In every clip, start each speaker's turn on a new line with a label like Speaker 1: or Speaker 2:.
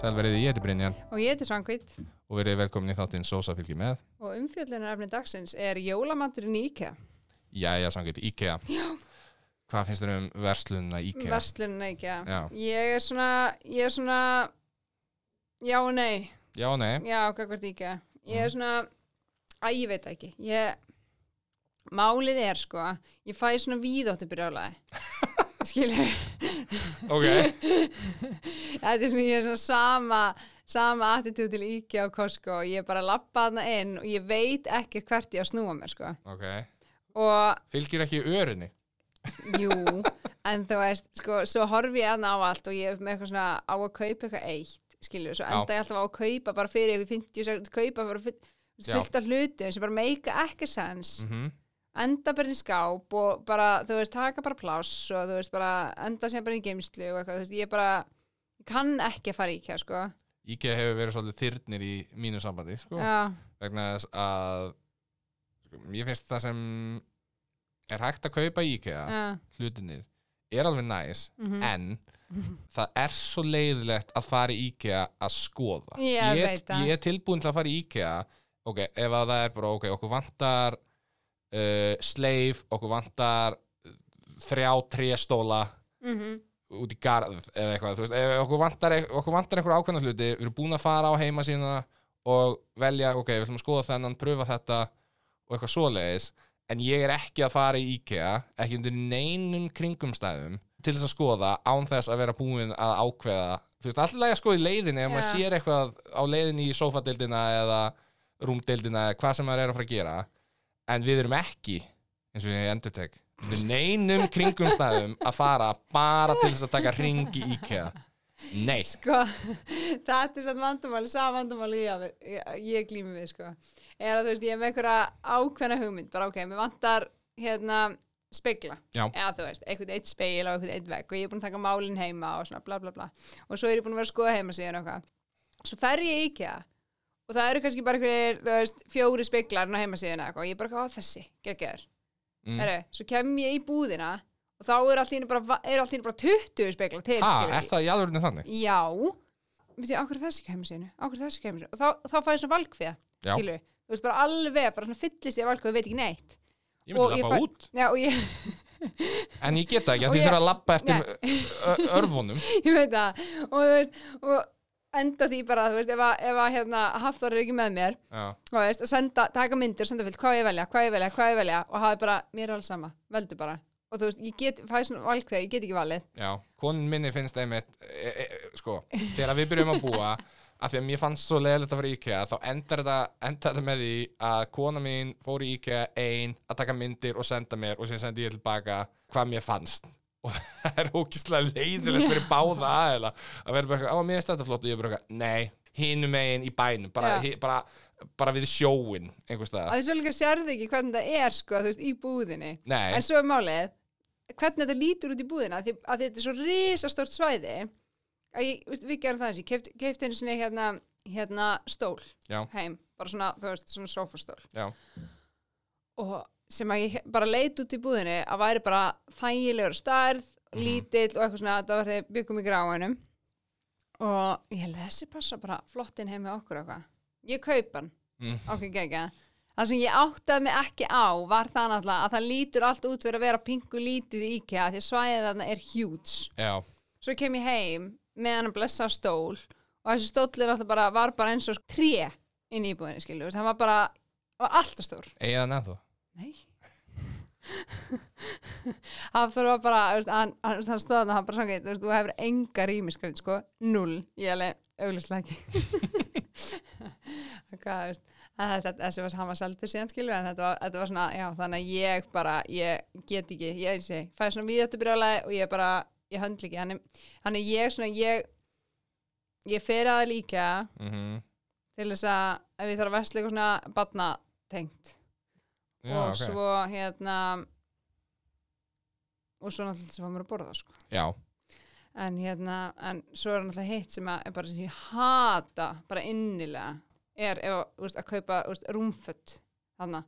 Speaker 1: Sælveriði, ég heiti Brynjan
Speaker 2: Og ég heiti Svangvít
Speaker 1: og verið velkomin í þáttinn Sosa fylgji með.
Speaker 2: og umfjöllunar efni dagsins er jólamanturinn í IKEA,
Speaker 1: Jæja, samkvæmt IKEA. Já. Hvað finnst þér um verslunna IKEA?
Speaker 2: verslunina IKEA.
Speaker 1: Já.
Speaker 2: Ég er svona, ég er svona, já og nei,
Speaker 1: Já, og nei.
Speaker 2: já, kakvart IKEA. Ég er svona, að ég veit það ekki, ég, málið er sko, ég fæ svona víðóttu brjálaði. Skilur,
Speaker 1: Ok.
Speaker 2: þetta er svona, ég er svona sama, sama attitúd til IKEA og Costco og ég bara lappa þarna inn og ég veit ekki hvert ég á að snúa mér sko.
Speaker 1: Ok.
Speaker 2: Og
Speaker 1: Fylgir ekki örunni?
Speaker 2: Jú, en þú veist, sko, svo horfi ég aðna á allt og ég er með eitthvað svona á að kaupa eitthvað eitt, skilju, svo
Speaker 1: Já.
Speaker 2: enda ég alltaf á að kaupa bara fyrir eitthvað 50, sek- kaupa bara fyll-
Speaker 1: Já.
Speaker 2: fullt af hlutum sem bara meika ekki sens,
Speaker 1: Mm
Speaker 2: enda bara í skáp og bara, þú veist, taka bara pláss og þú veist, bara enda sem bara í geimslu og eitthvað, þú veist, ég bara ég kann ekki að fara í kjá, sko.
Speaker 1: IKEA hefur verið svolítið þyrnir í mínu sambandi, sko.
Speaker 2: Já,
Speaker 1: Vegna þess að ég finnst það sem er hægt að kaupa í IKEA,
Speaker 2: já,
Speaker 1: hlutinir, er alveg næs,
Speaker 2: mhm.
Speaker 1: en það er svo leiðilegt að fara í IKEA að skoða.
Speaker 2: Ég
Speaker 1: ég,
Speaker 2: veit það.
Speaker 1: ég er tilbúin til að fara í IKEA ok, ef að það er bara ok, okkur vantar uh, sleif, okkur vantar uh, þrjá trésstóla
Speaker 2: mhm,
Speaker 1: út í garð eða eitthvað, þú veist, ef okkur vantar, e-, okkur vantar einhver ákveðna hluti, við erum búin að fara á heima sína og velja, ok, við ætlum að skoða þennan, pröfa þetta og eitthvað svoleiðis, en ég er ekki að fara í IKEA, ekki undir neinum kringumstæðum til þess að skoða án þess að vera búin að ákveða þú veist, alltaf að skoða í leiðinni ef maður
Speaker 2: Já.
Speaker 1: sér eitthvað á leiðinni í sofadeildina eða rúmdeildina, eða hvað sem maður er að fara að gera en við erum ekki eins og ég endur tek undir neinum kringumstæðum að fara bara til þess að taka ring í IKEA Nei,
Speaker 2: Sko, þetta er satt vandamáli, sá vandamáli ég, að- ég, ég glými við, sko. Er að þú veist, ég er með einhverja ákveðna hugmynd, bara ok, mér vantar, hérna, spegla.
Speaker 1: Já.
Speaker 2: Eða þú veist, einhvern eitt spegil og einhvern eitt vegg og ég er búin að taka málin heima og svona bla bla bla. Og svo er ég búin að vera að skoða heima síðan og eitthvað. Svo fer ég í IKEA og það eru kannski bara einhverjir, þú veist, fjóri speglar á heima síðan eitthvað og ég er bara eitthvað á þessi, geggjör.
Speaker 1: Mm.
Speaker 2: Heru, svo kem ég í búðina og þá eru allt í henni bara, er allt í henni bara 20 speglar til,
Speaker 1: ha,
Speaker 2: skilurðu.
Speaker 1: er það í aðurinu þannig?
Speaker 2: Já, veit ég, ákveður þessi kemur síðan, ákveður þessi kemur síðan og þá, þá fæði svona valgfið,
Speaker 1: Já,
Speaker 2: skilur við, þú veist bara alveg, bara svona fyllist ég valgfið, veit ekki neitt.
Speaker 1: ég myndi
Speaker 2: og ég
Speaker 1: labba
Speaker 2: fæ-
Speaker 1: út
Speaker 2: Já, og ég,
Speaker 1: En ég get það ekki,
Speaker 2: Og
Speaker 1: að því
Speaker 2: ég-
Speaker 1: þurfa að labba eftir ö- örvunum
Speaker 2: ég veit það, og þú veist, og enda því bara, þú veist, ef að, ef að hérna, Hafþór er ekki með mér,
Speaker 1: Já,
Speaker 2: og veist, að senda, taka myndir, senda fyllt, hvað ég velja, hvað ég velja, hvað ég velja, og hafi bara, mér er alls sama, veldu bara. Og þú veist, ég get, fæði svona valgfið, ég get ekki valið.
Speaker 1: já, konun minni finnst einmitt e, e, e, sko, þegar við byrjum að búa af því að mér fannst svo leiðilegt að fara í IKEA þá endar þetta, endar þetta með því að kona mín fór í IKEA ein að taka myndir og senda mér og sér sendi ég tilbaka hvað mér fannst og það er ókislega leiðilegt fyrir báða aðeila að vera bara eitthvað, á mér er þetta flott og ég er bara eitthvað, nei, hinum megin í bænum bara,
Speaker 2: Já.
Speaker 1: hi, bara, bara við sjóin einhvers
Speaker 2: Að
Speaker 1: staðar,
Speaker 2: því svo líka sérði ekki hvernig það er, sko, þú veist, í búðinni.
Speaker 1: nei
Speaker 2: En svo er málið, hvernig þetta lítur út í búðina, því að þetta er svo risastort svæði, að ég, veist, við gerum það eins, ég keft, kefti einu sinni hérna, hérna stól
Speaker 1: Já.
Speaker 2: heim, bara svona, þú veist, svona sofastól.
Speaker 1: Já.
Speaker 2: Og sem að ég bara leit út í búðinni að væri bara þægilegur stærð,
Speaker 1: Mhm.
Speaker 2: lítill og eitthvað svona, þetta var þegar byggum í gráinum. Og ég held þessi passa bara flott inn heim með okkur og eitthvað. Ég kaup hann
Speaker 1: Mm.
Speaker 2: ok, gegja það sem ég áttaði mig ekki á var það náttúrulega að það lítur allt út fyrir að vera pingu lítið í IKEA því að svæðið þarna er huge
Speaker 1: já,
Speaker 2: svo kem ég heim með hann að blessa stól og þessi stóll er alltaf bara, var bara eins og tré inn í íbúðinni skilur það var bara, það var alltaf stór
Speaker 1: eigið hann ennþá
Speaker 2: nei það var bara, þú veist, hann, hann, hann stóð þarna, hann bara sangið, þú veist, þú hefur enga rýmiskrind sko, null, ég alveg auglislega ekki hvað, þú veist að þetta, þessi var hann var seldur síðan skilur en þetta var, þetta var svona, já, þannig að ég bara ég get ekki, ég eins og ég fæði svona viðjöttubrjálega og ég bara ég höndl ekki, hann er, hann er ég svona ég, ég fer að það líka
Speaker 1: mm
Speaker 2: til þess að ef ég þarf að versla eitthvað svona batnatengt
Speaker 1: já,
Speaker 2: og
Speaker 1: ok.
Speaker 2: svo hérna og svo náttúrulega sem var mér að borða sko.
Speaker 1: já,
Speaker 2: en hérna, en svo er náttúrulega hitt sem að er bara sem ég hata bara innilega er ef, úst, að kaupa úst, rúmfött þarna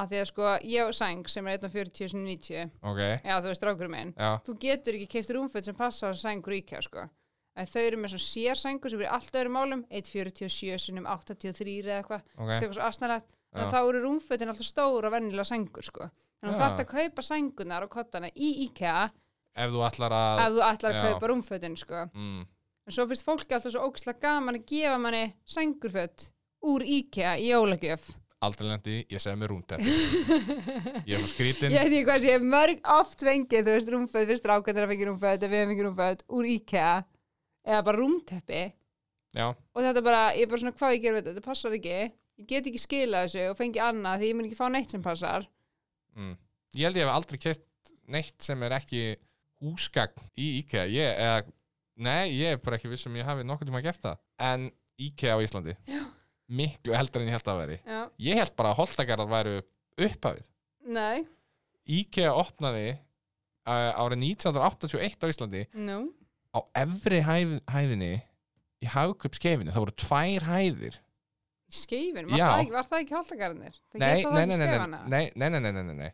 Speaker 2: að því að sko ég og Sæng sem er 140 sem 90
Speaker 1: ok
Speaker 2: já þú veist rákurum minn
Speaker 1: já,
Speaker 2: þú getur ekki keift rúmfött sem passa á Sæng Ríkja sko að þau eru með svona sérsængu sem eru alltaf öðrum málum 147 sinum 83 eða eitthvað þetta er
Speaker 1: ok,
Speaker 2: eitthvað svo asnalegt
Speaker 1: Já.
Speaker 2: en þá eru rúmfötin alltaf stóra vennilega sængur sko en þú
Speaker 1: Já.
Speaker 2: þarft að kaupa sængunar og kottana í IKEA
Speaker 1: ef þú ætlar að
Speaker 2: ef þú ætlar að
Speaker 1: Já.
Speaker 2: kaupa rúmfötin sko
Speaker 1: mm,
Speaker 2: en svo finnst fólki alltaf svo ógislega gaman að gefa manni sængurföt úr IKEA í jólagjöf
Speaker 1: aldrei lendi, ég segi mér rúnterfi ég er svo skrítin
Speaker 2: ég veit ekki hvað sé, ég hef mörg oft fengið þú veist rúmföt, við strákandir að fengið rúmföt ef við hefum fengið rúmföt úr IKEA eða bara rúmteppi
Speaker 1: já,
Speaker 2: og þetta bara, ég er bara svona hvað ég gerum þetta, þetta passar ekki ég get ekki skilað þessu og fengi annað því ég mun ekki fá neitt sem passar
Speaker 1: mm. ég held ég hef aldrei keitt neitt sem er ekki húsgagn í IKEA ég, eða, nei, ég er bara ekki viss um ég hafi nokkuð tíma að gert það en IKEA á Íslandi já. miklu heldur en ég held að veri
Speaker 2: Já.
Speaker 1: ég held bara að holtagarðar væru upphafið
Speaker 2: Nei,
Speaker 1: IKEA opnaði uh, árið 1981 á Íslandi
Speaker 2: nú,
Speaker 1: á efri hæð, hæðinni í hagkupskeifinu, það voru tvær hæðir
Speaker 2: í
Speaker 1: Já.
Speaker 2: skeifin, var, það ekki- var það ekki holtakarnir? Það
Speaker 1: nei,
Speaker 2: hét
Speaker 1: nei,
Speaker 2: það
Speaker 1: nei,
Speaker 2: ekki
Speaker 1: nei, nei,
Speaker 2: skeifana?
Speaker 1: nei, nei, nei, nei, nei, nei, nei.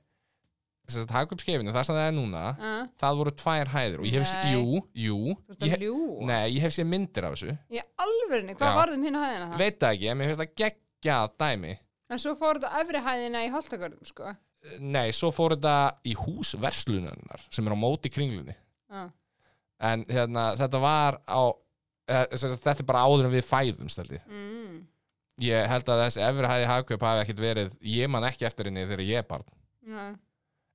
Speaker 1: Þess að hagkupskeifinu, það sem það er núna
Speaker 2: Ah,
Speaker 1: það voru tvær hæðir og ég hef,
Speaker 2: Nei.
Speaker 1: jú, jú
Speaker 2: Þú ert að
Speaker 1: ég,
Speaker 2: ljú.
Speaker 1: nei, ég hef séð myndir af þessu
Speaker 2: Í alvörinu, hvað
Speaker 1: Já.
Speaker 2: varðum hérna hæðina það?
Speaker 1: veit það ekki, en mér finnst það geggjað dæmi
Speaker 2: En svo fór þetta á efri hæðina í holtakarnum, sko.
Speaker 1: nei, svo fór þetta í hús verslunarinnar sem er á móti kringlunni
Speaker 2: Ah.
Speaker 1: en hérna, þetta var á eh, sem sagt, þetta er bara áður en við fæðumst held ég.
Speaker 2: Mm.
Speaker 1: ég held að þessi efri hæði hagkaup hafi ekkit verið, ég man ekki eftir henni þegar ég er barn,
Speaker 2: Já.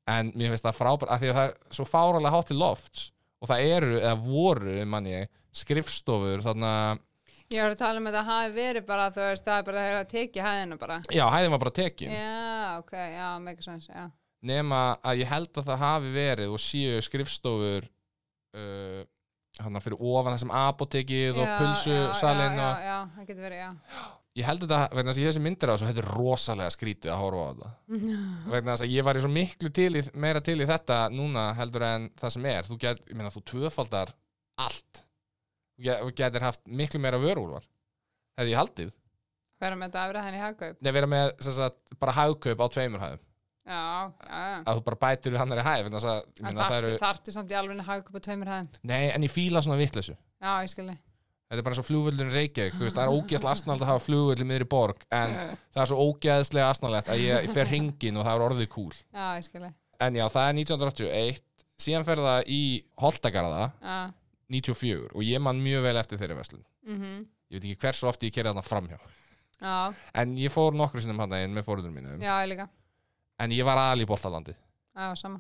Speaker 1: en mér finnst það frábært af því að það er svo fárálega hátt til loft og það eru, eða voru, mann ég skrifstofur, þarna
Speaker 2: Ég var að tala um að þetta hafi verið bara, þú veist, það er bara það er að teki hæðina bara.
Speaker 1: já, hæðin var bara tekin
Speaker 2: Já, ok, já, make sense, já.
Speaker 1: nema að ég held að það hafi verið og séu skrifstofur uh, hann fyrir ofan þessum apotekið og
Speaker 2: Já,
Speaker 1: pulsusalinn og
Speaker 2: Já, já, já, það getur verið, já.
Speaker 1: ég held þetta, vegna þess að ég hef þessi myndir á þessu þetta er rosalega skrítið að horfa á þetta vegna þess að ég var í svo miklu til í, meira til í þetta núna heldur en það sem er, þú get, ég meina þú tvöfaldar allt Þú get- þú getur haft miklu meira vörúrvar hefði ég haldið,
Speaker 2: Verða með þetta efri hæðina í hagkaup.
Speaker 1: Nei, vera með sem sagt, bara hagkaup á tveimur hæðum
Speaker 2: Já, já, já.
Speaker 1: að þú bara bætir við hann er í hæð vegna þess að, ég
Speaker 2: En
Speaker 1: meina, það
Speaker 2: þarftu,
Speaker 1: eru,
Speaker 2: þarftu samt í alveg hagkaup á tveimur hæðum.
Speaker 1: nei, en ég fíla svona vitleysu
Speaker 2: Já, ég skilji.
Speaker 1: Þetta er bara svo flugvöldurinn Reykjavík, þú veist, það er ógeðslega asnalegt að hafa flugvöld í miðri borg, en það er svo ógeðslega asnalegt að ég, ég fer hringin og það er orðið kúl.
Speaker 2: Já, ég skilji.
Speaker 1: En já, það er 1981, síðan fer það í Holtagarða
Speaker 2: Já,
Speaker 1: 94 og ég man mjög vel eftir þeirri verslun.
Speaker 2: mhm.
Speaker 1: Ég veit ekki hversu ofti ég kerði þarna framhjá.
Speaker 2: Já,
Speaker 1: En ég fór nokkru sinnum hann einn með fórundur mínum,
Speaker 2: já, ég líka.
Speaker 1: en ég var aðal í Boltalandi.
Speaker 2: Já, sama.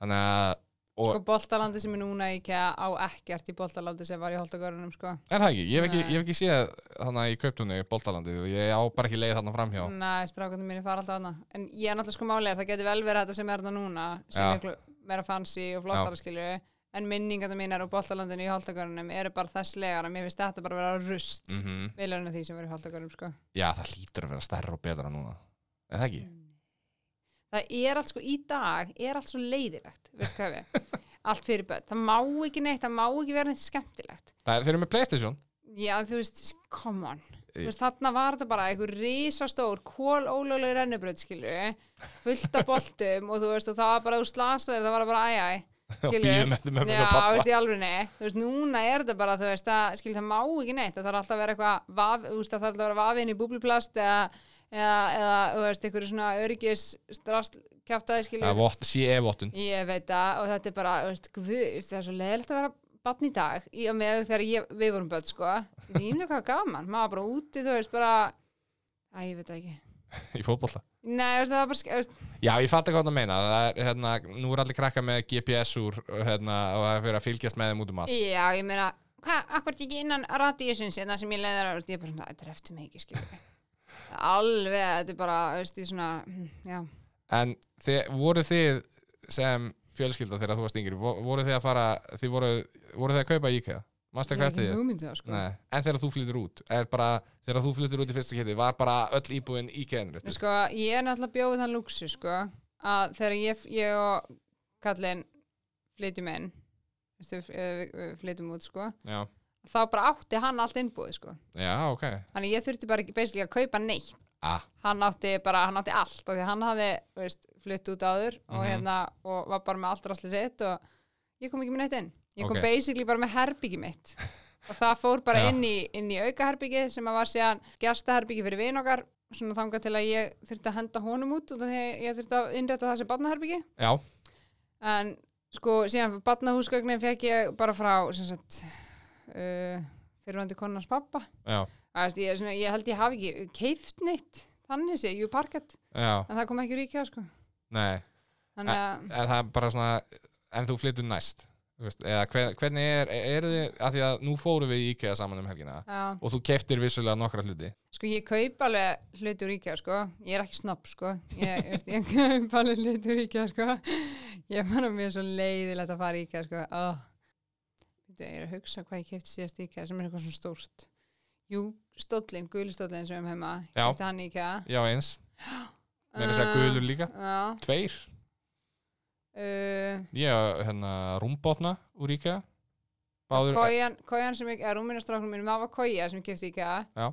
Speaker 1: Þannig að, og
Speaker 2: Sko, boltalandi sem er núna í IKEA á ekkert í boltalandi sem var í holdagörunum, sko.
Speaker 1: er það ekki, ég hef ekki,
Speaker 2: Nei.
Speaker 1: ég hef ekki séð þannig í kauptunni Boltalandi og ég á bara ekki leið þarna framhjá.
Speaker 2: Nei, strákandi mínir fara alltaf aðna. En ég er náttúrulega sko málið að það getur vel verið þetta sem er þarna núna, sem
Speaker 1: Já.
Speaker 2: er miklu meira fancy og flottara skilju. En minningarna mínar og boltalandinu í holdagörunum eru bara þess legar að mér finnst þetta bara vera rust. Mm.
Speaker 1: Mm
Speaker 2: Viljónu því sem var í holdagörunum, sko.
Speaker 1: Já, það hlýtur að vera stærra og betra núna. Er það ekki?
Speaker 2: Mm. það er allt sko í dag er allt svo leiðilegt veistu hvað við allt fyrir börn, það má ekki neitt það má ekki vera neitt skemmtilegt
Speaker 1: Það er, þeir eru með Playstation
Speaker 2: já þú veist, come on Þú veist, þarna var þetta bara einhver risastór kól ólögleg rennubröð skilju fullt af boltum og þú veist og það var bara þú slasaðir, það var bara æjæ
Speaker 1: og býðum eftir mömmu og
Speaker 2: Já, þú
Speaker 1: pappa
Speaker 2: veist, í alvörinni, þú veist, núna er þetta bara, þú veist, að, skil, það má ekki neitt, það þarf alltaf að vera eitthvað, vaf, þú veist, það þarf alltaf að vera vafið inn í búbliplast eða, eða, eða, þú veist, einhverju svona örgis strastkjáftaði, skil,
Speaker 1: Það er vott, CE-vottun
Speaker 2: ég veit það og þetta er bara, þú veist, guð, það er svo leðilegt að vera barn í dag, í og með þegar ég, við vorum börn, sko, þetta er ímlega hvað gaman, maður bara úti, þú veist, bara, æ, ég veit það ekki,
Speaker 1: í fótbolta
Speaker 2: nei, þú veist, það var bara, sk- þú veist,
Speaker 1: Já, ég fatt ekki hvað það meina það er, hérna, Nú er allir krakka með GPS úr hérna, og það er fyrir að fylgjast með þeim út um allt
Speaker 2: já, ég meina, hvað, akkur ekki innan radíusins, það sem ég leiðar, þú veist, ég er bara, svona, þetta er eftir mig ekki, skilur, alveg, þetta er bara, þú veist, ég svona, hm, já,
Speaker 1: En þið, voru þið sem fjölskylda þegar þú varst yngri vo- voru þið að fara, þið voru, voru þið að kaupa í IKEA? Manstu
Speaker 2: ég
Speaker 1: ekki eftir
Speaker 2: er ekki
Speaker 1: því?
Speaker 2: hugmyndu það, sko,
Speaker 1: Nei, en þegar þú flyttur út er bara, þegar þú flyttur út í fyrsta kiti var bara öll íbúin IKEA-nir
Speaker 2: En sko, ég er náttúrulega bjóð þann lúksu, sko, að þegar ég, ég og kallinn flytjum inn, veistu, eh, við- við flytjum út, sko,
Speaker 1: Já,
Speaker 2: þá bara átti hann allt innbúið, sko.
Speaker 1: já, ok
Speaker 2: Þannig ég þurfti bara ekki basically að kaupa neitt.
Speaker 1: ah.
Speaker 2: Hann átti bara, hann átti allt, af því að hann hafði, þú veist, flytt út áður og
Speaker 1: Mhm.
Speaker 2: hérna, og var bara með allt rastlega sitt og ég kom ekki með neitt inn. Ég kom
Speaker 1: Ok.
Speaker 2: basically bara með herbyggi mitt og það fór bara
Speaker 1: Já.
Speaker 2: inn í, inn í aukaherbyggi sem að var síðan gestaherbyggi fyrir vin okkar svona þangað til að ég þurfti að henda honum út og því að ég þurfti að innrætta það sem barnaherbyggi
Speaker 1: já,
Speaker 2: en sko síðan barnahúsgögnin fekk ég bara frá sem sagt uh, fyrirvandi konans pappa
Speaker 1: já,
Speaker 2: Það veist, ég, er svona, ég held ég hafi ekki keift neitt þannig sé, jú parkett
Speaker 1: já,
Speaker 2: en það kom ekki ríkja sko
Speaker 1: nei
Speaker 2: þannig að,
Speaker 1: en það er bara svona en þú flyttur næst þú veist, eða hver, hvernig er, er þið að því að nú fórum við í IKEA saman um helgina
Speaker 2: já,
Speaker 1: og þú keftir vissulega nokkra hluti
Speaker 2: sko ég kaup alveg hluti úr ríkja sko, ég er ekki snopp sko ég, veist, ég kaup alveg hluti úr ríkja sko ég fann að mér er svo leiðilegt að fara í ríkja sko oh. ég er að hugsa hvað ég keipti síðast í ríkja sem er eitthvað svona stórt jú, stóllin, gulstóllin sem við höfum heima
Speaker 1: Já.
Speaker 2: keipti hann í ríkja
Speaker 1: já eins, meira þess að
Speaker 2: Uh,
Speaker 1: segja gulur líka
Speaker 2: já,
Speaker 1: tveir,
Speaker 2: uh,
Speaker 1: ég á, hérna rúmbotna úr IKEA báður,
Speaker 2: kójan, kójan sem ég, eða rúminastráknum mínum, það var kója sem ég kefti ekki að
Speaker 1: Já.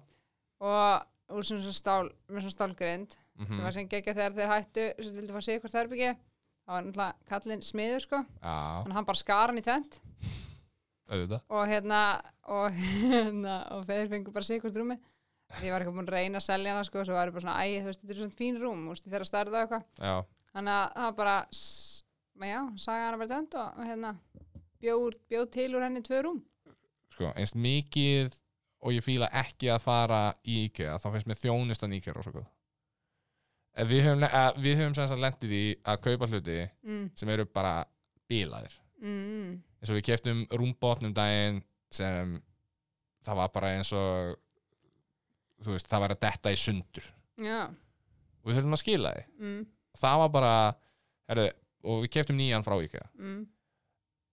Speaker 2: og úr sem svona stál, með svona stálgrind
Speaker 1: mhm,
Speaker 2: sem var sem geggja þegar þeir hættu sem þeir vildu fá sig hvort þerbyggi það var náttúrulega kallinn smiður sko
Speaker 1: já,
Speaker 2: en hann bara skar hann í tvent
Speaker 1: auðvitað
Speaker 2: og hérna og, hérna, og þeir fengu bara sig hvort rúmi því ég var eitthvað búin að reyna að selja hana sko og svo var ég bara svona, æ, þú veist, þetta er svona fín rúm úst, þegar að stærða og eitthvað
Speaker 1: já,
Speaker 2: þannig að það var bara, s- ma- já, saga hana bara í tvent og, og hérna bjóð, bjóð til úr henni tvö rúm
Speaker 1: sko, eins mikið og ég fíla ekki að fara í IKEA þá finnst mér þjónustan IKEA rosa góð En við höfum, að, við höfum sem sagt lendið í að kaupa hluti
Speaker 2: mm,
Speaker 1: sem eru bara bílaðir
Speaker 2: mm, mm.
Speaker 1: eins og við keftum rúmbotnum daginn sem það var bara eins og þú veist, það var að detta í sundur
Speaker 2: Já,
Speaker 1: og við þurfum að skila því
Speaker 2: mm,
Speaker 1: það var bara, herri, og við keftum nýjan frá IKEA
Speaker 2: mm,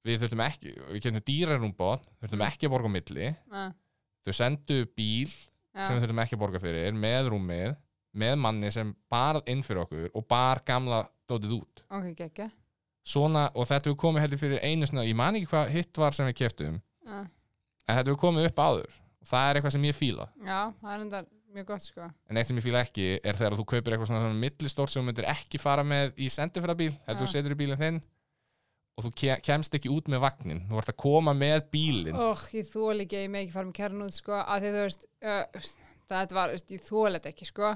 Speaker 1: við þurftum ekki, við keftum dýrar rúmbotn þurftum ekki að borga á milli
Speaker 2: að,
Speaker 1: þau sendu bíl
Speaker 2: já,
Speaker 1: sem við þurfum ekki að borga fyrir með rúmið, með manni sem barð inn fyrir okkur og bar gamla dótið út
Speaker 2: ok, geggja
Speaker 1: svona, og þetta við komið heldur fyrir einu svona, ég man ekki hvað hitt var sem við keftum
Speaker 2: Já,
Speaker 1: en þetta hefur komið upp áður og það er eitthvað sem ég fíla
Speaker 2: já, það er enda mjög gott sko
Speaker 1: en eitt sem ég fíla ekki er þegar þú kaupir eitthvað svona, svona millistórt sem þú myndir ekki fara með í sendifræðabíl þegar þú
Speaker 2: Já.
Speaker 1: setur í bílinn þinn og þú ke- kemst ekki út með vagnin þú vart að koma með bílinn
Speaker 2: Óh, ég þóli ekki að ég með ekki fara með kærun út sko að því þú veist, uh, það var, veist, ég þóli þetta ekki sko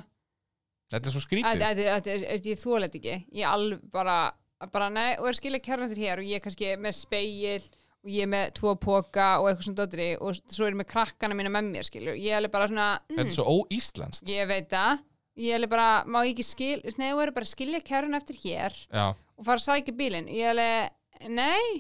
Speaker 1: þetta er svo
Speaker 2: Að-
Speaker 1: skrítið
Speaker 2: að- að- að- að- Ég þóli þetta ekki, ég alveg bara, að bara nei, og er skilja kærun til hér og ég kannski með speil og ég með tvo póka og eitthvað svona dotri og svo er ég með krakkana mína með mér skilju, ég er alveg bara svona
Speaker 1: þetta
Speaker 2: mm,
Speaker 1: er svo óíslenskt
Speaker 2: Ég veit það, ég er alveg bara, má ég ekki skil, nei, þú eru bara að skilja kærun eftir hér
Speaker 1: já,
Speaker 2: og fara að sækja bílinn ég alveg, nei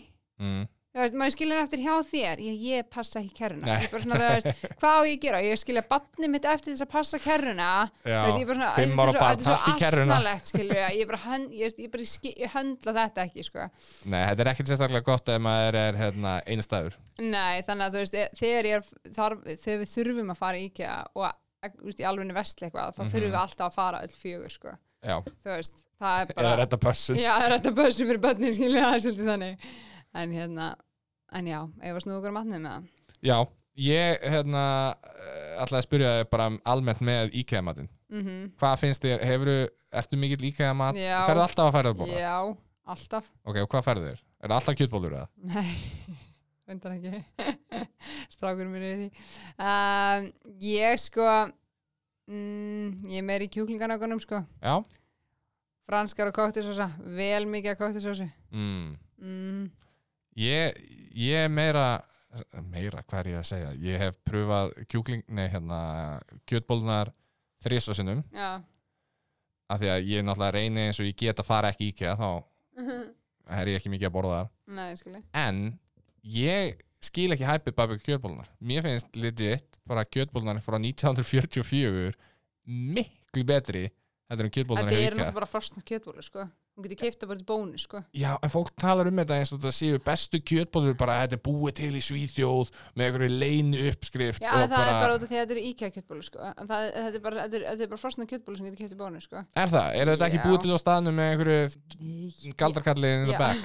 Speaker 1: mm.
Speaker 2: þú veist, maður skilja hann eftir hjá þér ég, ég passa ekki kerruna
Speaker 1: Nei.
Speaker 2: ég bara svona, þú veist, hvað á ég að gera, ég skilja batni mitt eftir þess að passa kerruna
Speaker 1: já.
Speaker 2: Þú veist, ég bara svona,
Speaker 1: fimm
Speaker 2: þetta
Speaker 1: ára
Speaker 2: er svo-
Speaker 1: barn,
Speaker 2: þetta
Speaker 1: haltu í
Speaker 2: er svo
Speaker 1: kerruna
Speaker 2: asnalegt skilur ég, ég bara, hönd, ég, veist, ég bara skil, ég höndla þetta ekki sko.
Speaker 1: nei, þetta er ekkert sérstaklega gott ef maður er hérna, einstæður
Speaker 2: nei, þannig að þú veist, ég- þegar, ég er, þar, þegar við þurfum að fara í IKEA og að- þú veist, í alveg vestli eitthvað, þá þurfum við alltaf að fara öll fjögur sko.
Speaker 1: já,
Speaker 2: þú veist, það er bara
Speaker 1: Mhm. eða þetta pössun
Speaker 2: Já, það er þetta bössu fyrir börnin, skilja það er svolítið þannig. En hérna, en já, ef að snúðu okkur að matnið með það.
Speaker 1: já, ég hérna, ætlaði að spyrja þig bara um almennt með IKEA-matinn
Speaker 2: Mm
Speaker 1: hvað finnst þér, hefuru, ertu mikill íkæða mat
Speaker 2: Já.
Speaker 1: ferðu alltaf að færa að borða
Speaker 2: Já, alltaf.
Speaker 1: ok, og hvað ferðu þér, er það alltaf kjötbólur eða
Speaker 2: Nei, undar ekki. Strákur mér er í því. Um, ég sko, mm, ég er meir í kjúklinganagunum sko.
Speaker 1: já,
Speaker 2: Franskar og kóttisósa, vel mikið að kóttisósu.
Speaker 1: mm.
Speaker 2: Mm,
Speaker 1: ég, ég meira meira, hvað er ég að segja ég hef pröfað kjúkling, nei hérna kjötbólunar þrísasinnum
Speaker 2: já,
Speaker 1: af því að ég náttúrulega reyni eins og ég get að fara ekki í IKEA þá
Speaker 2: Mhm.
Speaker 1: er ég ekki mikið að borða þar
Speaker 2: nei, skilja.
Speaker 1: en ég skil ekki hæpið bara kjötbólunar mér finnst legit bara kjötbólunar frá 1944 miklu betri heldur en kjötbólunar
Speaker 2: Þetta
Speaker 1: hjá
Speaker 2: eru
Speaker 1: IKEA.
Speaker 2: náttúrulega bara frostna kjötbólu sko. Hún getur keifta bara til bónu sko.
Speaker 1: Já, en fólk talar um þetta eins og það séu bestu kjötbólur bara að þetta er búið til í Svíþjóð með einhverju leinu uppskrift
Speaker 2: Já,
Speaker 1: og
Speaker 2: það er bara út af því að þetta eru IKEA kjötbólu sko. En það, þetta, er bara, þetta, er, þetta er bara frosna kjötbólu sem getur kjöpt í bónu sko.
Speaker 1: Er það? Er þetta ekki
Speaker 2: Já.
Speaker 1: búið til á staðnum með einhverju galdrakalli in the
Speaker 2: Já.
Speaker 1: back?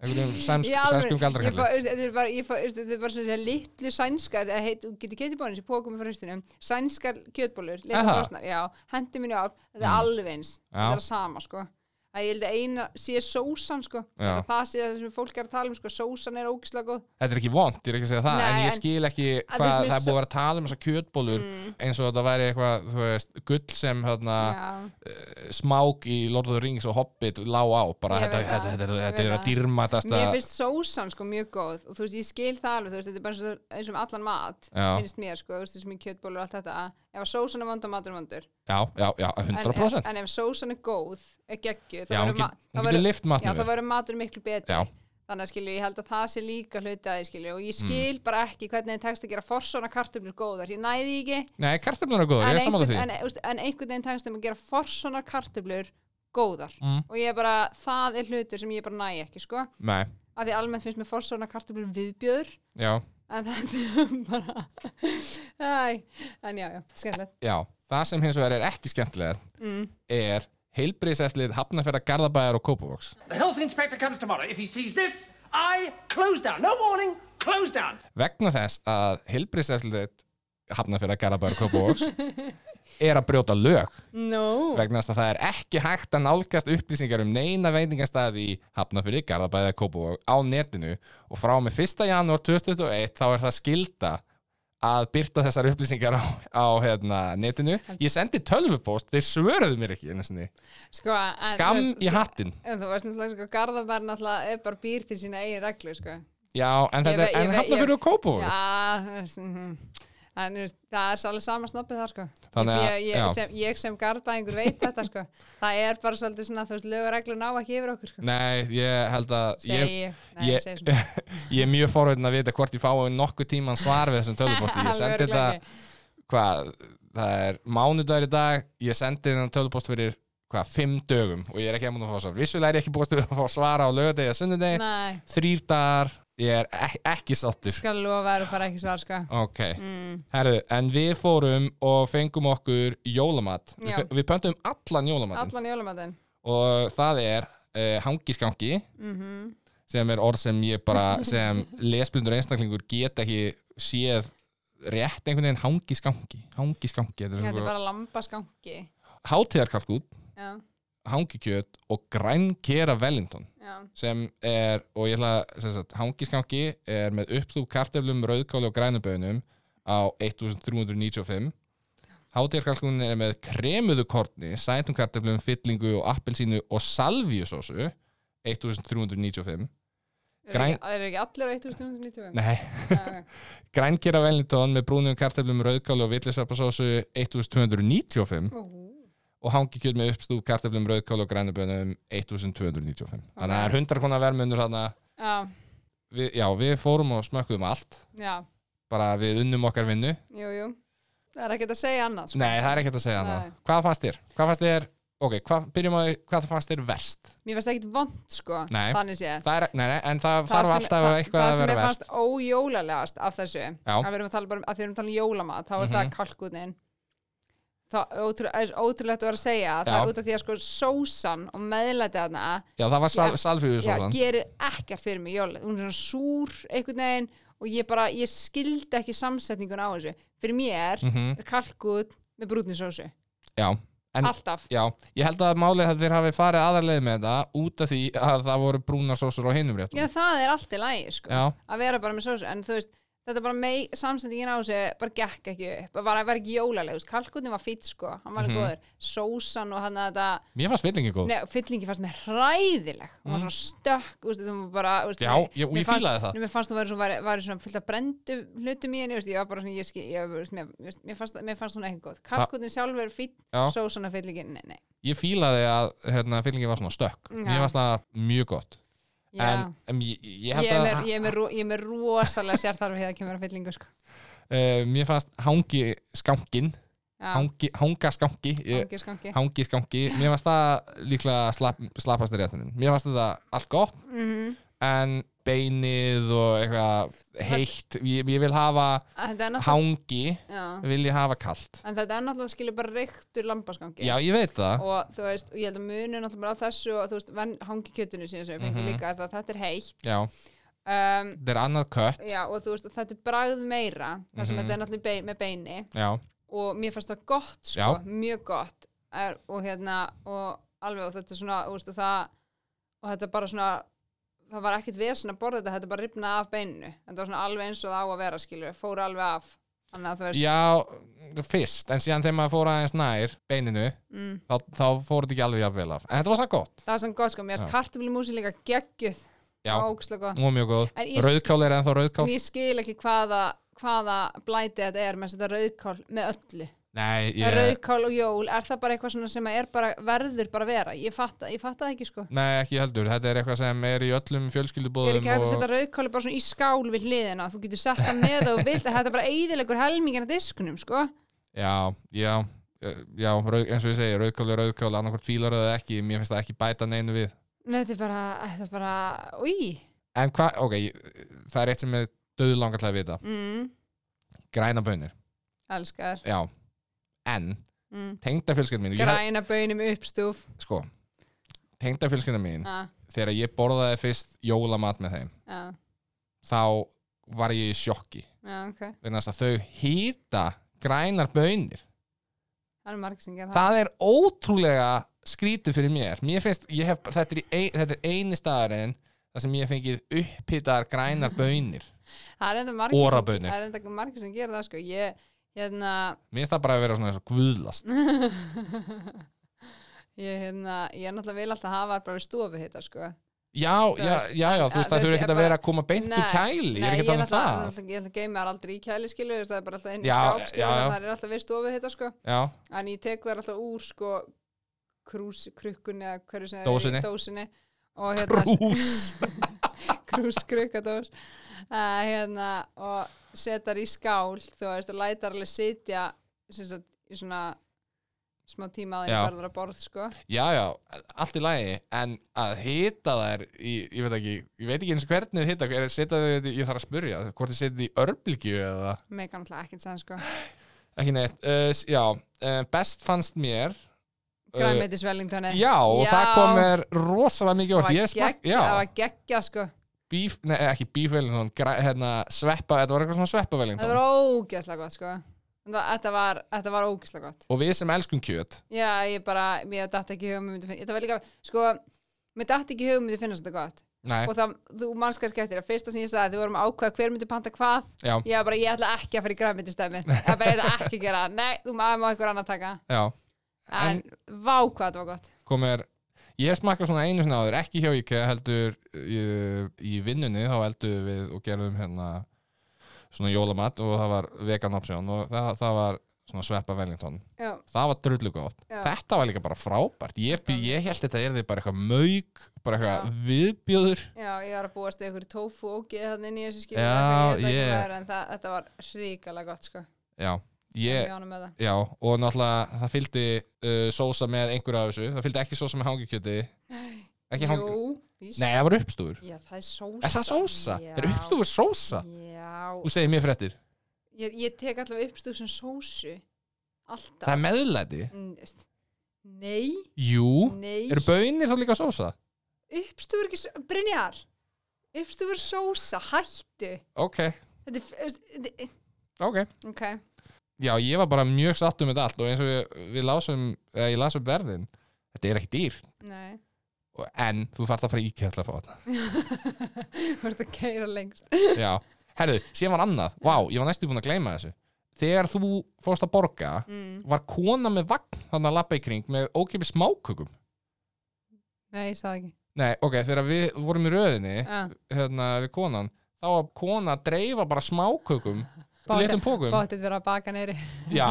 Speaker 1: Einhverjum sæmsk,
Speaker 2: Í alvöru,
Speaker 1: sænskum
Speaker 2: ég fá,
Speaker 1: galdrakalli?
Speaker 2: veist, þetta er bara, ég fá, veist, þetta er bara svona þessi litlu sænskar, eða heit, þú getur kjöpt í bónu sem pókum frá hristinum, sænskar kjötbólur
Speaker 1: Er
Speaker 2: litlu
Speaker 1: það?
Speaker 2: frosnar, já, hendi minni á þetta er
Speaker 1: Mm.
Speaker 2: alveg eins,
Speaker 1: Já.
Speaker 2: þetta er það sama sko. að ég held að eina sé sósan sko
Speaker 1: Já.
Speaker 2: það sé það sem fólk er að tala um sko sósan er ógislega góð
Speaker 1: Þetta er ekki vond, ég er ekki að segja það,
Speaker 2: Nei,
Speaker 1: en ég
Speaker 2: en-
Speaker 1: skil ekki
Speaker 2: En
Speaker 1: hvað
Speaker 2: finnst mér
Speaker 1: það er
Speaker 2: svo-
Speaker 1: búið að vera að tala um þessar kjötbólur eins og þetta væri eitthvað, þú veist, gull sem hérna,
Speaker 2: Mm. já,
Speaker 1: smák í Lord of the Rings og Hobbit lág á, bara
Speaker 2: Ég
Speaker 1: þetta,
Speaker 2: veit það,
Speaker 1: þetta, þetta,
Speaker 2: ég
Speaker 1: þetta
Speaker 2: veit
Speaker 1: er að
Speaker 2: það.
Speaker 1: dýrmatasta
Speaker 2: mér finnst sósan sko mjög góð og þú veist ég skil það alveg þú veist þetta er bara eins og- eins og með allan mat
Speaker 1: Já.
Speaker 2: finnst mér sko, þú veist þessum í kjötbólur og allt þetta að ef að sósan er vond og matur er vondur
Speaker 1: Já, já, já,
Speaker 2: en,
Speaker 1: 100%
Speaker 2: en ef sósan er góð, er geggju
Speaker 1: Já, hún, get, hún getur lift
Speaker 2: já,
Speaker 1: matnum
Speaker 2: það
Speaker 1: við
Speaker 2: verður matur miklu betri
Speaker 1: Já.
Speaker 2: þannig að skilju, ég held að það sé líka hluti að ég skilju og ég
Speaker 1: Mm.
Speaker 2: skil bara ekki hvernig þið tekst að gera forsóna kartöflur góðar, ég næði því ekki
Speaker 1: Nei, kartöflunar er góður,
Speaker 2: en,
Speaker 1: ég er sammála
Speaker 2: einhvern,
Speaker 1: því
Speaker 2: en, veist, en einhvern veginn tekst þeim að gera forsóna kartöflur góðar
Speaker 1: Mm.
Speaker 2: og ég bara, það er hlutur sem ég bara næ ekki sko,
Speaker 1: Nei,
Speaker 2: af því almennt finnst mér forsóna kartöflur viðbjöður
Speaker 1: já,
Speaker 2: en þetta er bara Æ, en já, já, skemmtilegt
Speaker 1: já Það sem hins vegar er ekki skemmtilega
Speaker 2: mm.
Speaker 1: er heilbriðsæslið Hafnarferða Garðabæðar og Kópavogs
Speaker 3: The health inspector comes tomorrow. If he sees this, I close down. No warning, close down.
Speaker 1: vegna þess að heilbriðsæslið Hafnarferða Garðabæðar og Kópavogs er að brjóta lög
Speaker 2: no.
Speaker 1: vegna þess að það er ekki hægt að nálgast upplýsingar um neina veitingastæði í Hafnarfyrði, Garðabæði eða Kópavog á netinu og frá og með 1. janúar 2021 þá er það skilda að byrta þessar upplýsingar á, á hérna, netinu. Ég sendi tölvupóst, þeir svöruðu mér ekki einu sinni.
Speaker 2: sko, en,
Speaker 1: Skam
Speaker 2: þú veist,
Speaker 1: í hattinn.
Speaker 2: en þú veist náttúrulega sko, Garðabær náttúrulega er bara býr til sína eigin reglu sko.
Speaker 1: Já, en,
Speaker 2: Ég
Speaker 1: þetta er-
Speaker 2: veit- ég
Speaker 1: en
Speaker 2: veit-
Speaker 1: Hafnarfyrði og Kópavog.
Speaker 2: Já, þú veist, mhm. en þú veist, það er svolítið sama snoppið þar sko.
Speaker 1: Þannig að-
Speaker 2: ég,
Speaker 1: já.
Speaker 2: ég, sem, ég sem gardaðingur veit þetta sko. það er bara svolítið svona þú veist, lögureglu ná ekki yfir okkur sko.
Speaker 1: Nei, ég held að...
Speaker 2: segi
Speaker 1: ég,
Speaker 2: ég, nei,
Speaker 1: ég,
Speaker 2: ég segi svona
Speaker 1: ég er mjög forveitin að vita hvort ég fái nokkuð tíman svar við þessum tölvupósti. Ég
Speaker 2: Alveg
Speaker 1: sendi
Speaker 2: örugglega
Speaker 1: þetta
Speaker 2: ekki.
Speaker 1: hvað, það er mánudagur í dag, ég sendi þennan tölvupost fyrir hvað, fimm dögum og ég er ekki að múin að fá svar. Vissulega er ég ekki búist við að fá svara á lögadegi að sunnudegi,
Speaker 2: nei, Sko.
Speaker 1: þrýr dagar, ég er ek ekki sáttir.
Speaker 2: skal lofa þér að fara ekki svar sko.
Speaker 1: Ok, herðu, en við fórum og fengum okkur jólamat. Við,
Speaker 2: Já.
Speaker 1: fe- við pöntum allan jólamatinn
Speaker 2: allan jólumatinn
Speaker 1: og það er uh, hangiskangi
Speaker 2: Mhm.
Speaker 1: sem er orð sem ég bara, sem lesblindur einstaklingur get ekki séð rétt einhvern veginn hangiskangi, hangiskangi, þetta er
Speaker 2: þetta
Speaker 1: svona
Speaker 2: er bara lambaskangi
Speaker 1: hátíðarkalkút,
Speaker 2: já,
Speaker 1: hangikjöt og grænkera Wellington
Speaker 2: já,
Speaker 1: sem er, og ég ætla að sem sagt, hangiskangi er með uppþúb kartöflum, rauðkáli og grænubönum á 1395 hátíðarkalkun er með kremuðu korni, sætum kartöflum, fyllingu og appelsínu og salvíusósu 1395
Speaker 2: eru
Speaker 1: Græn-
Speaker 2: ekki, eru ekki allir á 1990
Speaker 1: Nei,
Speaker 2: Já, ok.
Speaker 1: grænkera Wellington með brúnum kartöflum, rauðkáli og villisöpasósu 1295
Speaker 2: Ú,
Speaker 1: og hangikjöt með uppstúf kartöflum, rauðkál og grænubönum 1295 þannig að það er hundra konar vermunur þarna
Speaker 2: já,
Speaker 1: við, já, við fórum og smökkuðum allt
Speaker 2: já,
Speaker 1: bara við unnum okkar vinnu
Speaker 2: jú, jú það er ekkert að segja annað sko.
Speaker 1: nei, það er ekkert að segja
Speaker 2: Nei.
Speaker 1: hana hvað fannst þér? hvað fannst þér? ok, hvað, byrjum að hvað fannst þér verst?
Speaker 2: mér finnst ekkert vond sko,
Speaker 1: Nei.
Speaker 2: þannig sé
Speaker 1: það er, nei, nei, en það, þarf
Speaker 2: sem-
Speaker 1: alltaf eitthvað
Speaker 2: það
Speaker 1: að vera
Speaker 2: sem ég
Speaker 1: verst
Speaker 2: fannst ójólalegast af þessu
Speaker 1: Já. Mhm.
Speaker 2: að við erum að tala bara um, að því við erum að tala um jólamat þá er það kalkunin það er ótrú, er ótrúlegt að vera að segja að það
Speaker 1: Já.
Speaker 2: er út af því að sko sósan og meðlæti hana
Speaker 1: já, það var sal,
Speaker 2: Já.
Speaker 1: salfjöðu
Speaker 2: já,
Speaker 1: svo þann
Speaker 2: gerir ekkert fyrir mig jólalegast hún er svona súr einhvern veginn og ég bara, ég skildi ekki samsetningun á þessu fyrir mér
Speaker 1: Mhm.
Speaker 2: er kalkun með brúnni sósu,
Speaker 1: já, en
Speaker 2: alltaf
Speaker 1: Já, ég held að málið að þeir hafi farið aðarleið með þetta út af því að það voru brúnar sósur á hinum réttum.
Speaker 2: Já, það er allt í lægi, sko
Speaker 1: Já.
Speaker 2: að vera bara með sósu, en þú veist þetta bara mei, samsendingin á þessu, bara gekk ekki upp bara var, var ekki jólaleg, þú veist, kalkutin var fýtt sko, hann
Speaker 1: Mhm.
Speaker 2: var alveg góður, sósan og hann að þetta,
Speaker 1: Mér fannst villingi góð.
Speaker 2: ne, fyllingi fannst mér hræðileg, hún var svona stökk þú veist, þú bara, þú veist,
Speaker 1: Mhm. Já, ég- og
Speaker 2: mér
Speaker 1: ég
Speaker 2: fannst-
Speaker 1: fílaði það.
Speaker 2: nei, mér fannst þú væri, svona- væri, væri svona fyllt af brendu hlutum í henni, þú veist, ég var bara svona ég, skil, ég, þú veist, mér, mér, mér, fannst, mér fannst hún ekki góð kalkutin sjálfur er fýtt,
Speaker 1: Já.
Speaker 2: sósan og fyllingin, nei, nei,
Speaker 1: ég fílaði að hérna, fyllingi var svona stökk
Speaker 2: Já.
Speaker 1: mér varst það mjög gott en,
Speaker 2: já
Speaker 1: en ég, ég
Speaker 2: Ég
Speaker 1: held
Speaker 2: er,
Speaker 1: að
Speaker 2: með, ég, er með, ro- ég er með rosalega sérþarf hér að kemur að fyllingu sko.
Speaker 1: eh, mér fannst hangi skankin
Speaker 2: Já.
Speaker 1: hangi, hanga skanki ég,
Speaker 2: Gangi, gangi.
Speaker 1: hangi skanki, mér fannst það líklega slapp, slappast í réttunum mér fannst þetta allt gott
Speaker 2: Mhm.
Speaker 1: en beinið og eitthvað heitt, ég, ég vil hafa
Speaker 2: En þetta er náttúrulega,
Speaker 1: hangi,
Speaker 2: já,
Speaker 1: vil ég hafa kalt
Speaker 2: en þetta er náttúrulega skilur bara reyktur lambaskangi.
Speaker 1: já, ég veit það
Speaker 2: Og þú veist, og ég held að munu náttúrulega bara á þessu og þú veist, venn hangi kjötinu síðan sem við fengum
Speaker 1: Mhm.
Speaker 2: líka, það, þetta er heitt.
Speaker 1: já,
Speaker 2: Um,
Speaker 1: þetta er annað kött
Speaker 2: já, og þú veist, og þetta er bragð meira, þar sem
Speaker 1: Mhm.
Speaker 2: þetta er náttúrulega bei, með beini.
Speaker 1: já,
Speaker 2: Og mér fannst það gott, sko,
Speaker 1: Já.
Speaker 2: mjög gott. Er, og hérna, og alveg og þetta er svona, þú veist, og það og þetta er bara svona það var ekkit vesen að borða þetta, þetta bara ripnaði af beininu en það var svona alveg eins og það á að vera skilur fór alveg af, þannig að þú veist
Speaker 1: Já, fyrst, en síðan þegar maður fór aðeins nær beininu,
Speaker 2: mm,
Speaker 1: þá, þá fór þetta ekki alveg jafn vel af. En þetta var svona gott.
Speaker 2: það var svona gott sko, mér
Speaker 1: Já.
Speaker 2: erst kartumlumúsi líka geggjuð
Speaker 1: Já,
Speaker 2: ókslega gott
Speaker 1: hún var mjög góð.
Speaker 2: En ég-
Speaker 1: Rauðkál er ennþá rauðkál.
Speaker 2: en ég skil ekki hvaða hvaða blæti þetta er með þetta rauðkál með öllu,
Speaker 1: Nei,
Speaker 2: yeah.
Speaker 1: ég...
Speaker 2: rauðkál og jól er það bara eitthvað svona sem er bara, verður bara að vera ég fatt, ég fatt það ekki sko
Speaker 1: Nei, ekki heldur. Þetta er eitthvað sem er í öllum
Speaker 2: er
Speaker 1: fjölskyldubóðum
Speaker 2: ekki hægt að
Speaker 1: og...
Speaker 2: setja rauðkáli bara svona í skál við hliðina, þú getur sett það með og vilt að þetta er bara eiðilegur helmingin að diskunum sko.
Speaker 1: Já, já, eh, já, rauð, eins og ég segi, rauðkál er rauðkál, annarkvort fílar það ekki, mér finnst það ekki bæta neinu við.
Speaker 2: Nei, þetta er bara, þetta er bara, úi
Speaker 1: En hvað, ok, ég- það er eitt sem er döðlangar til að vita.
Speaker 2: mm,
Speaker 1: Græna bönir,
Speaker 2: elskar
Speaker 1: já. En,
Speaker 2: mm.
Speaker 1: tengdafjölskyldum mín, og ég,
Speaker 2: græna bönum uppstúf
Speaker 1: hef- sko, tengdafjölskyldum mín,
Speaker 2: ah,
Speaker 1: þegar ég borðaði fyrst jólamat með þeim
Speaker 2: ah,
Speaker 1: þá var ég í sjokki
Speaker 2: ah, ok,
Speaker 1: vegna þess að þau hýta grænar bönir
Speaker 2: það er margir sem gera það
Speaker 1: það er ótrúlega skrítið fyrir mér mér finnst, ég hef, þetta, er ein, þetta er eini staðarinn þar sem ég hef fengið upphýtaðar grænar bönir
Speaker 2: það er enda margir, sem,
Speaker 1: Orabönir.
Speaker 2: það er enda margir sem gera það sko. ég, hérna
Speaker 1: mér finnst það bara að vera svona eins og guðlast
Speaker 2: ég, hérna, ég náttúrulega vil alltaf hafa bara við stofu hitta sko.
Speaker 1: já, já, já, já, þú veist það þurfi ekki að vera að koma beint í kæli, ég er ekki að tala um
Speaker 2: náttúrulega-
Speaker 1: það
Speaker 2: náttúrulega- Ég ætla að geima þar aldrei í kæli skilu Það er bara alltaf inn í
Speaker 1: Já,
Speaker 2: skáp skilu
Speaker 1: já, já.
Speaker 2: Það er alltaf við stofu hitta sko
Speaker 1: já,
Speaker 2: en ég tek þær alltaf úr sko krús, krukkunni eða hverju sem
Speaker 1: Dósinni.
Speaker 2: er í dósinni og hérna
Speaker 1: brús
Speaker 2: krús, krukkadós uh, hérna og setar í skál þú veist og lætar alveg sitja sem sagt, í svona smá tíma á því
Speaker 1: Já.
Speaker 2: verður að borð sko
Speaker 1: já, já, allt í lagi en að hita þær í, ég veit ekki, ég veit ekki eins hvernig þið hita er, setja þau, ég þarf að spurja hvort þið setja þið í örbylgju eða
Speaker 2: meika náttúrulega ekkert sann sko
Speaker 1: ekki neitt, uh, s- já, uh, best fannst mér
Speaker 2: græmetis velingtóni
Speaker 1: já, og
Speaker 2: Já.
Speaker 1: það kom mér rosalega mikið
Speaker 2: það
Speaker 1: vart, ég
Speaker 2: var
Speaker 1: smakk,
Speaker 2: geggja, það
Speaker 1: já
Speaker 2: var geggja sko
Speaker 1: bíf, nei, ekki bífvelin, svona, græ, hérna sveppa, þetta var eitthvað svona sveppavelin
Speaker 2: það var ógeðslega gott sko Þetta var- þetta var, þetta var ógeðslega gott
Speaker 1: og við sem elskum kjöt
Speaker 2: Já, ég bara, mér dætti ekki hugum myndi finna, þetta var líka, sko mér dætti ekki hugum myndi finna þetta gott
Speaker 1: nei,
Speaker 2: og það, þú mannst kannski eftir að fyrsta sem ég sagði þið vorum að ákveða hver myndi panta hvað
Speaker 1: já,
Speaker 2: ég var bara, ég ætla ekki að fara í græmyndi stæmi það bara, ég ætla ekki að gera, það. nei, þú maður má einhver annar taka
Speaker 1: já
Speaker 2: en, vá hvað þetta var gott
Speaker 1: kom mér Ég smakka svona einu sinni áður, ekki hjá IKEA heldur í, í vinnunni þá heldur við og gerðum hérna svona jólamat og það var vegan option og það, það var svona sveppa Wellington.
Speaker 2: Já,
Speaker 1: Það var drullu gott.
Speaker 2: Já.
Speaker 1: Þetta var líka bara frábært. Ég, bý- ég held þetta er því bara eitthvað mauk, bara eitthvað viðbjöður.
Speaker 2: já, ég var að búast við ykkur tófu og geða þannig inn í þessu skilu
Speaker 1: Já,
Speaker 2: ég, veit ekki
Speaker 1: ég-
Speaker 2: hvað er, en það, þetta var hrikalega gott sko,
Speaker 1: Já, ég,
Speaker 2: ég ánum með það
Speaker 1: já og náttúrulega það fylgdi uh, sósa með einhverju af þessu. Það fylgdi ekki sósa með hangikjöti. Ekki hangikjöti.
Speaker 2: Jú, víst.
Speaker 1: Nei, það var uppstúfur.
Speaker 2: Já, það er sósa
Speaker 1: Er það sósa? Er
Speaker 2: Já.
Speaker 1: uppstúfur sósa?
Speaker 2: Já,
Speaker 1: Þú segir mér fréttir.
Speaker 2: ég, ég tek allavega uppstúð sem sósu alltaf
Speaker 1: Það er meðlæti.
Speaker 2: Mm, veist. nei,
Speaker 1: Jú,
Speaker 2: nei
Speaker 1: eru bönir þá líka sósa?
Speaker 2: uppstúður ekki, s- Brynjar uppstúður sósa, hættu
Speaker 1: Ok,
Speaker 2: þetta er, f- veist, þetta er-
Speaker 1: ok
Speaker 2: ok,
Speaker 1: Já, ég var bara mjög sattum með þetta allt og eins og við, við lásum, eða ég las upp verðin Þetta er ekki dýr
Speaker 2: nei
Speaker 1: og- En þú þarft að fara í IKEA til að fá þetta
Speaker 2: þú ert að keira lengst
Speaker 1: Já, herðu, síðan var annað Vá, ég var næstu búin að gleyma þessu Þegar þú fórst að borga
Speaker 2: mm.
Speaker 1: var kona með vagn þannig að lappa í kring með ókipi smákökum
Speaker 2: nei, ég sagði ekki
Speaker 1: Nei, ok, þegar við vorum í röðinni
Speaker 2: ah,
Speaker 1: hérna, við konan, þá var kona að dreifa bara smákökum í
Speaker 2: Báti-
Speaker 1: litlum pókum
Speaker 2: báttið verið að baka neyri
Speaker 1: Já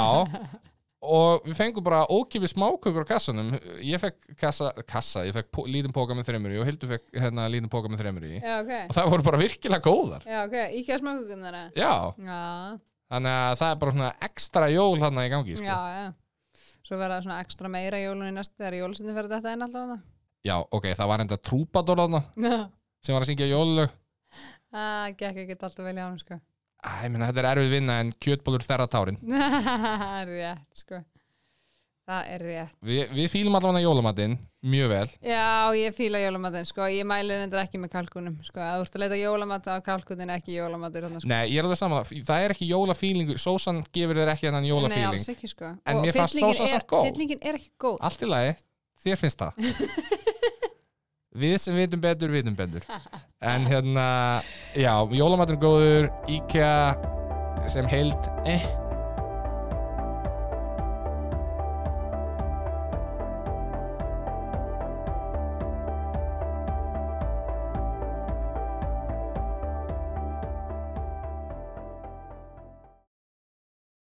Speaker 1: Og við fengum bara ókipið smákökur á kassanum Ég fekk kassa, kassa ég fekk pó, lítinn póka með þreymur í og Hildur fekk hérna lítinn póka með þreymur í
Speaker 2: já, ok,
Speaker 1: og það voru bara virkilega góðar
Speaker 2: já, ok, íkjað smákugun þarna
Speaker 1: Já,
Speaker 2: já,
Speaker 1: þannig að það er bara svona ekstra jól hann í gangi
Speaker 2: já,
Speaker 1: sko.
Speaker 2: já svo verða svona ekstra meira í jólunni næst þegar jólusinni verður þetta inn alltaf
Speaker 1: Já, ok, það var enda trúpador þarna
Speaker 2: það
Speaker 1: sem var að syngja jólulög
Speaker 2: það gekk ekki alltaf vel í ánum sko
Speaker 1: Æ, ég meina, þetta er erfið vinna en kjötbólur þerra tárin
Speaker 2: rétt sko það er rétt
Speaker 1: Vi, Við fílum allavega jólamatinn mjög vel
Speaker 2: já ég fíla jólamatinn sko ég mæli reyndar ekki með kalkunum sko að þú ert að leita jólamat á kalkunin ekki jólamatur þannig sko
Speaker 1: Nei, ég er alveg saman, það er ekki jólafílingur Sósan gefur þér ekki hennan
Speaker 2: nei alls
Speaker 1: jólafíling
Speaker 2: ekki sko
Speaker 1: En mér fannst
Speaker 2: fyllingin
Speaker 1: sósa
Speaker 2: er-
Speaker 1: samt góð.
Speaker 2: fyllingin er ekki góð
Speaker 1: Allt í lagi, þér finnst það við sem vitum betur, vitum betur en hérna, já, jólamatur góður IKEA sem heild eh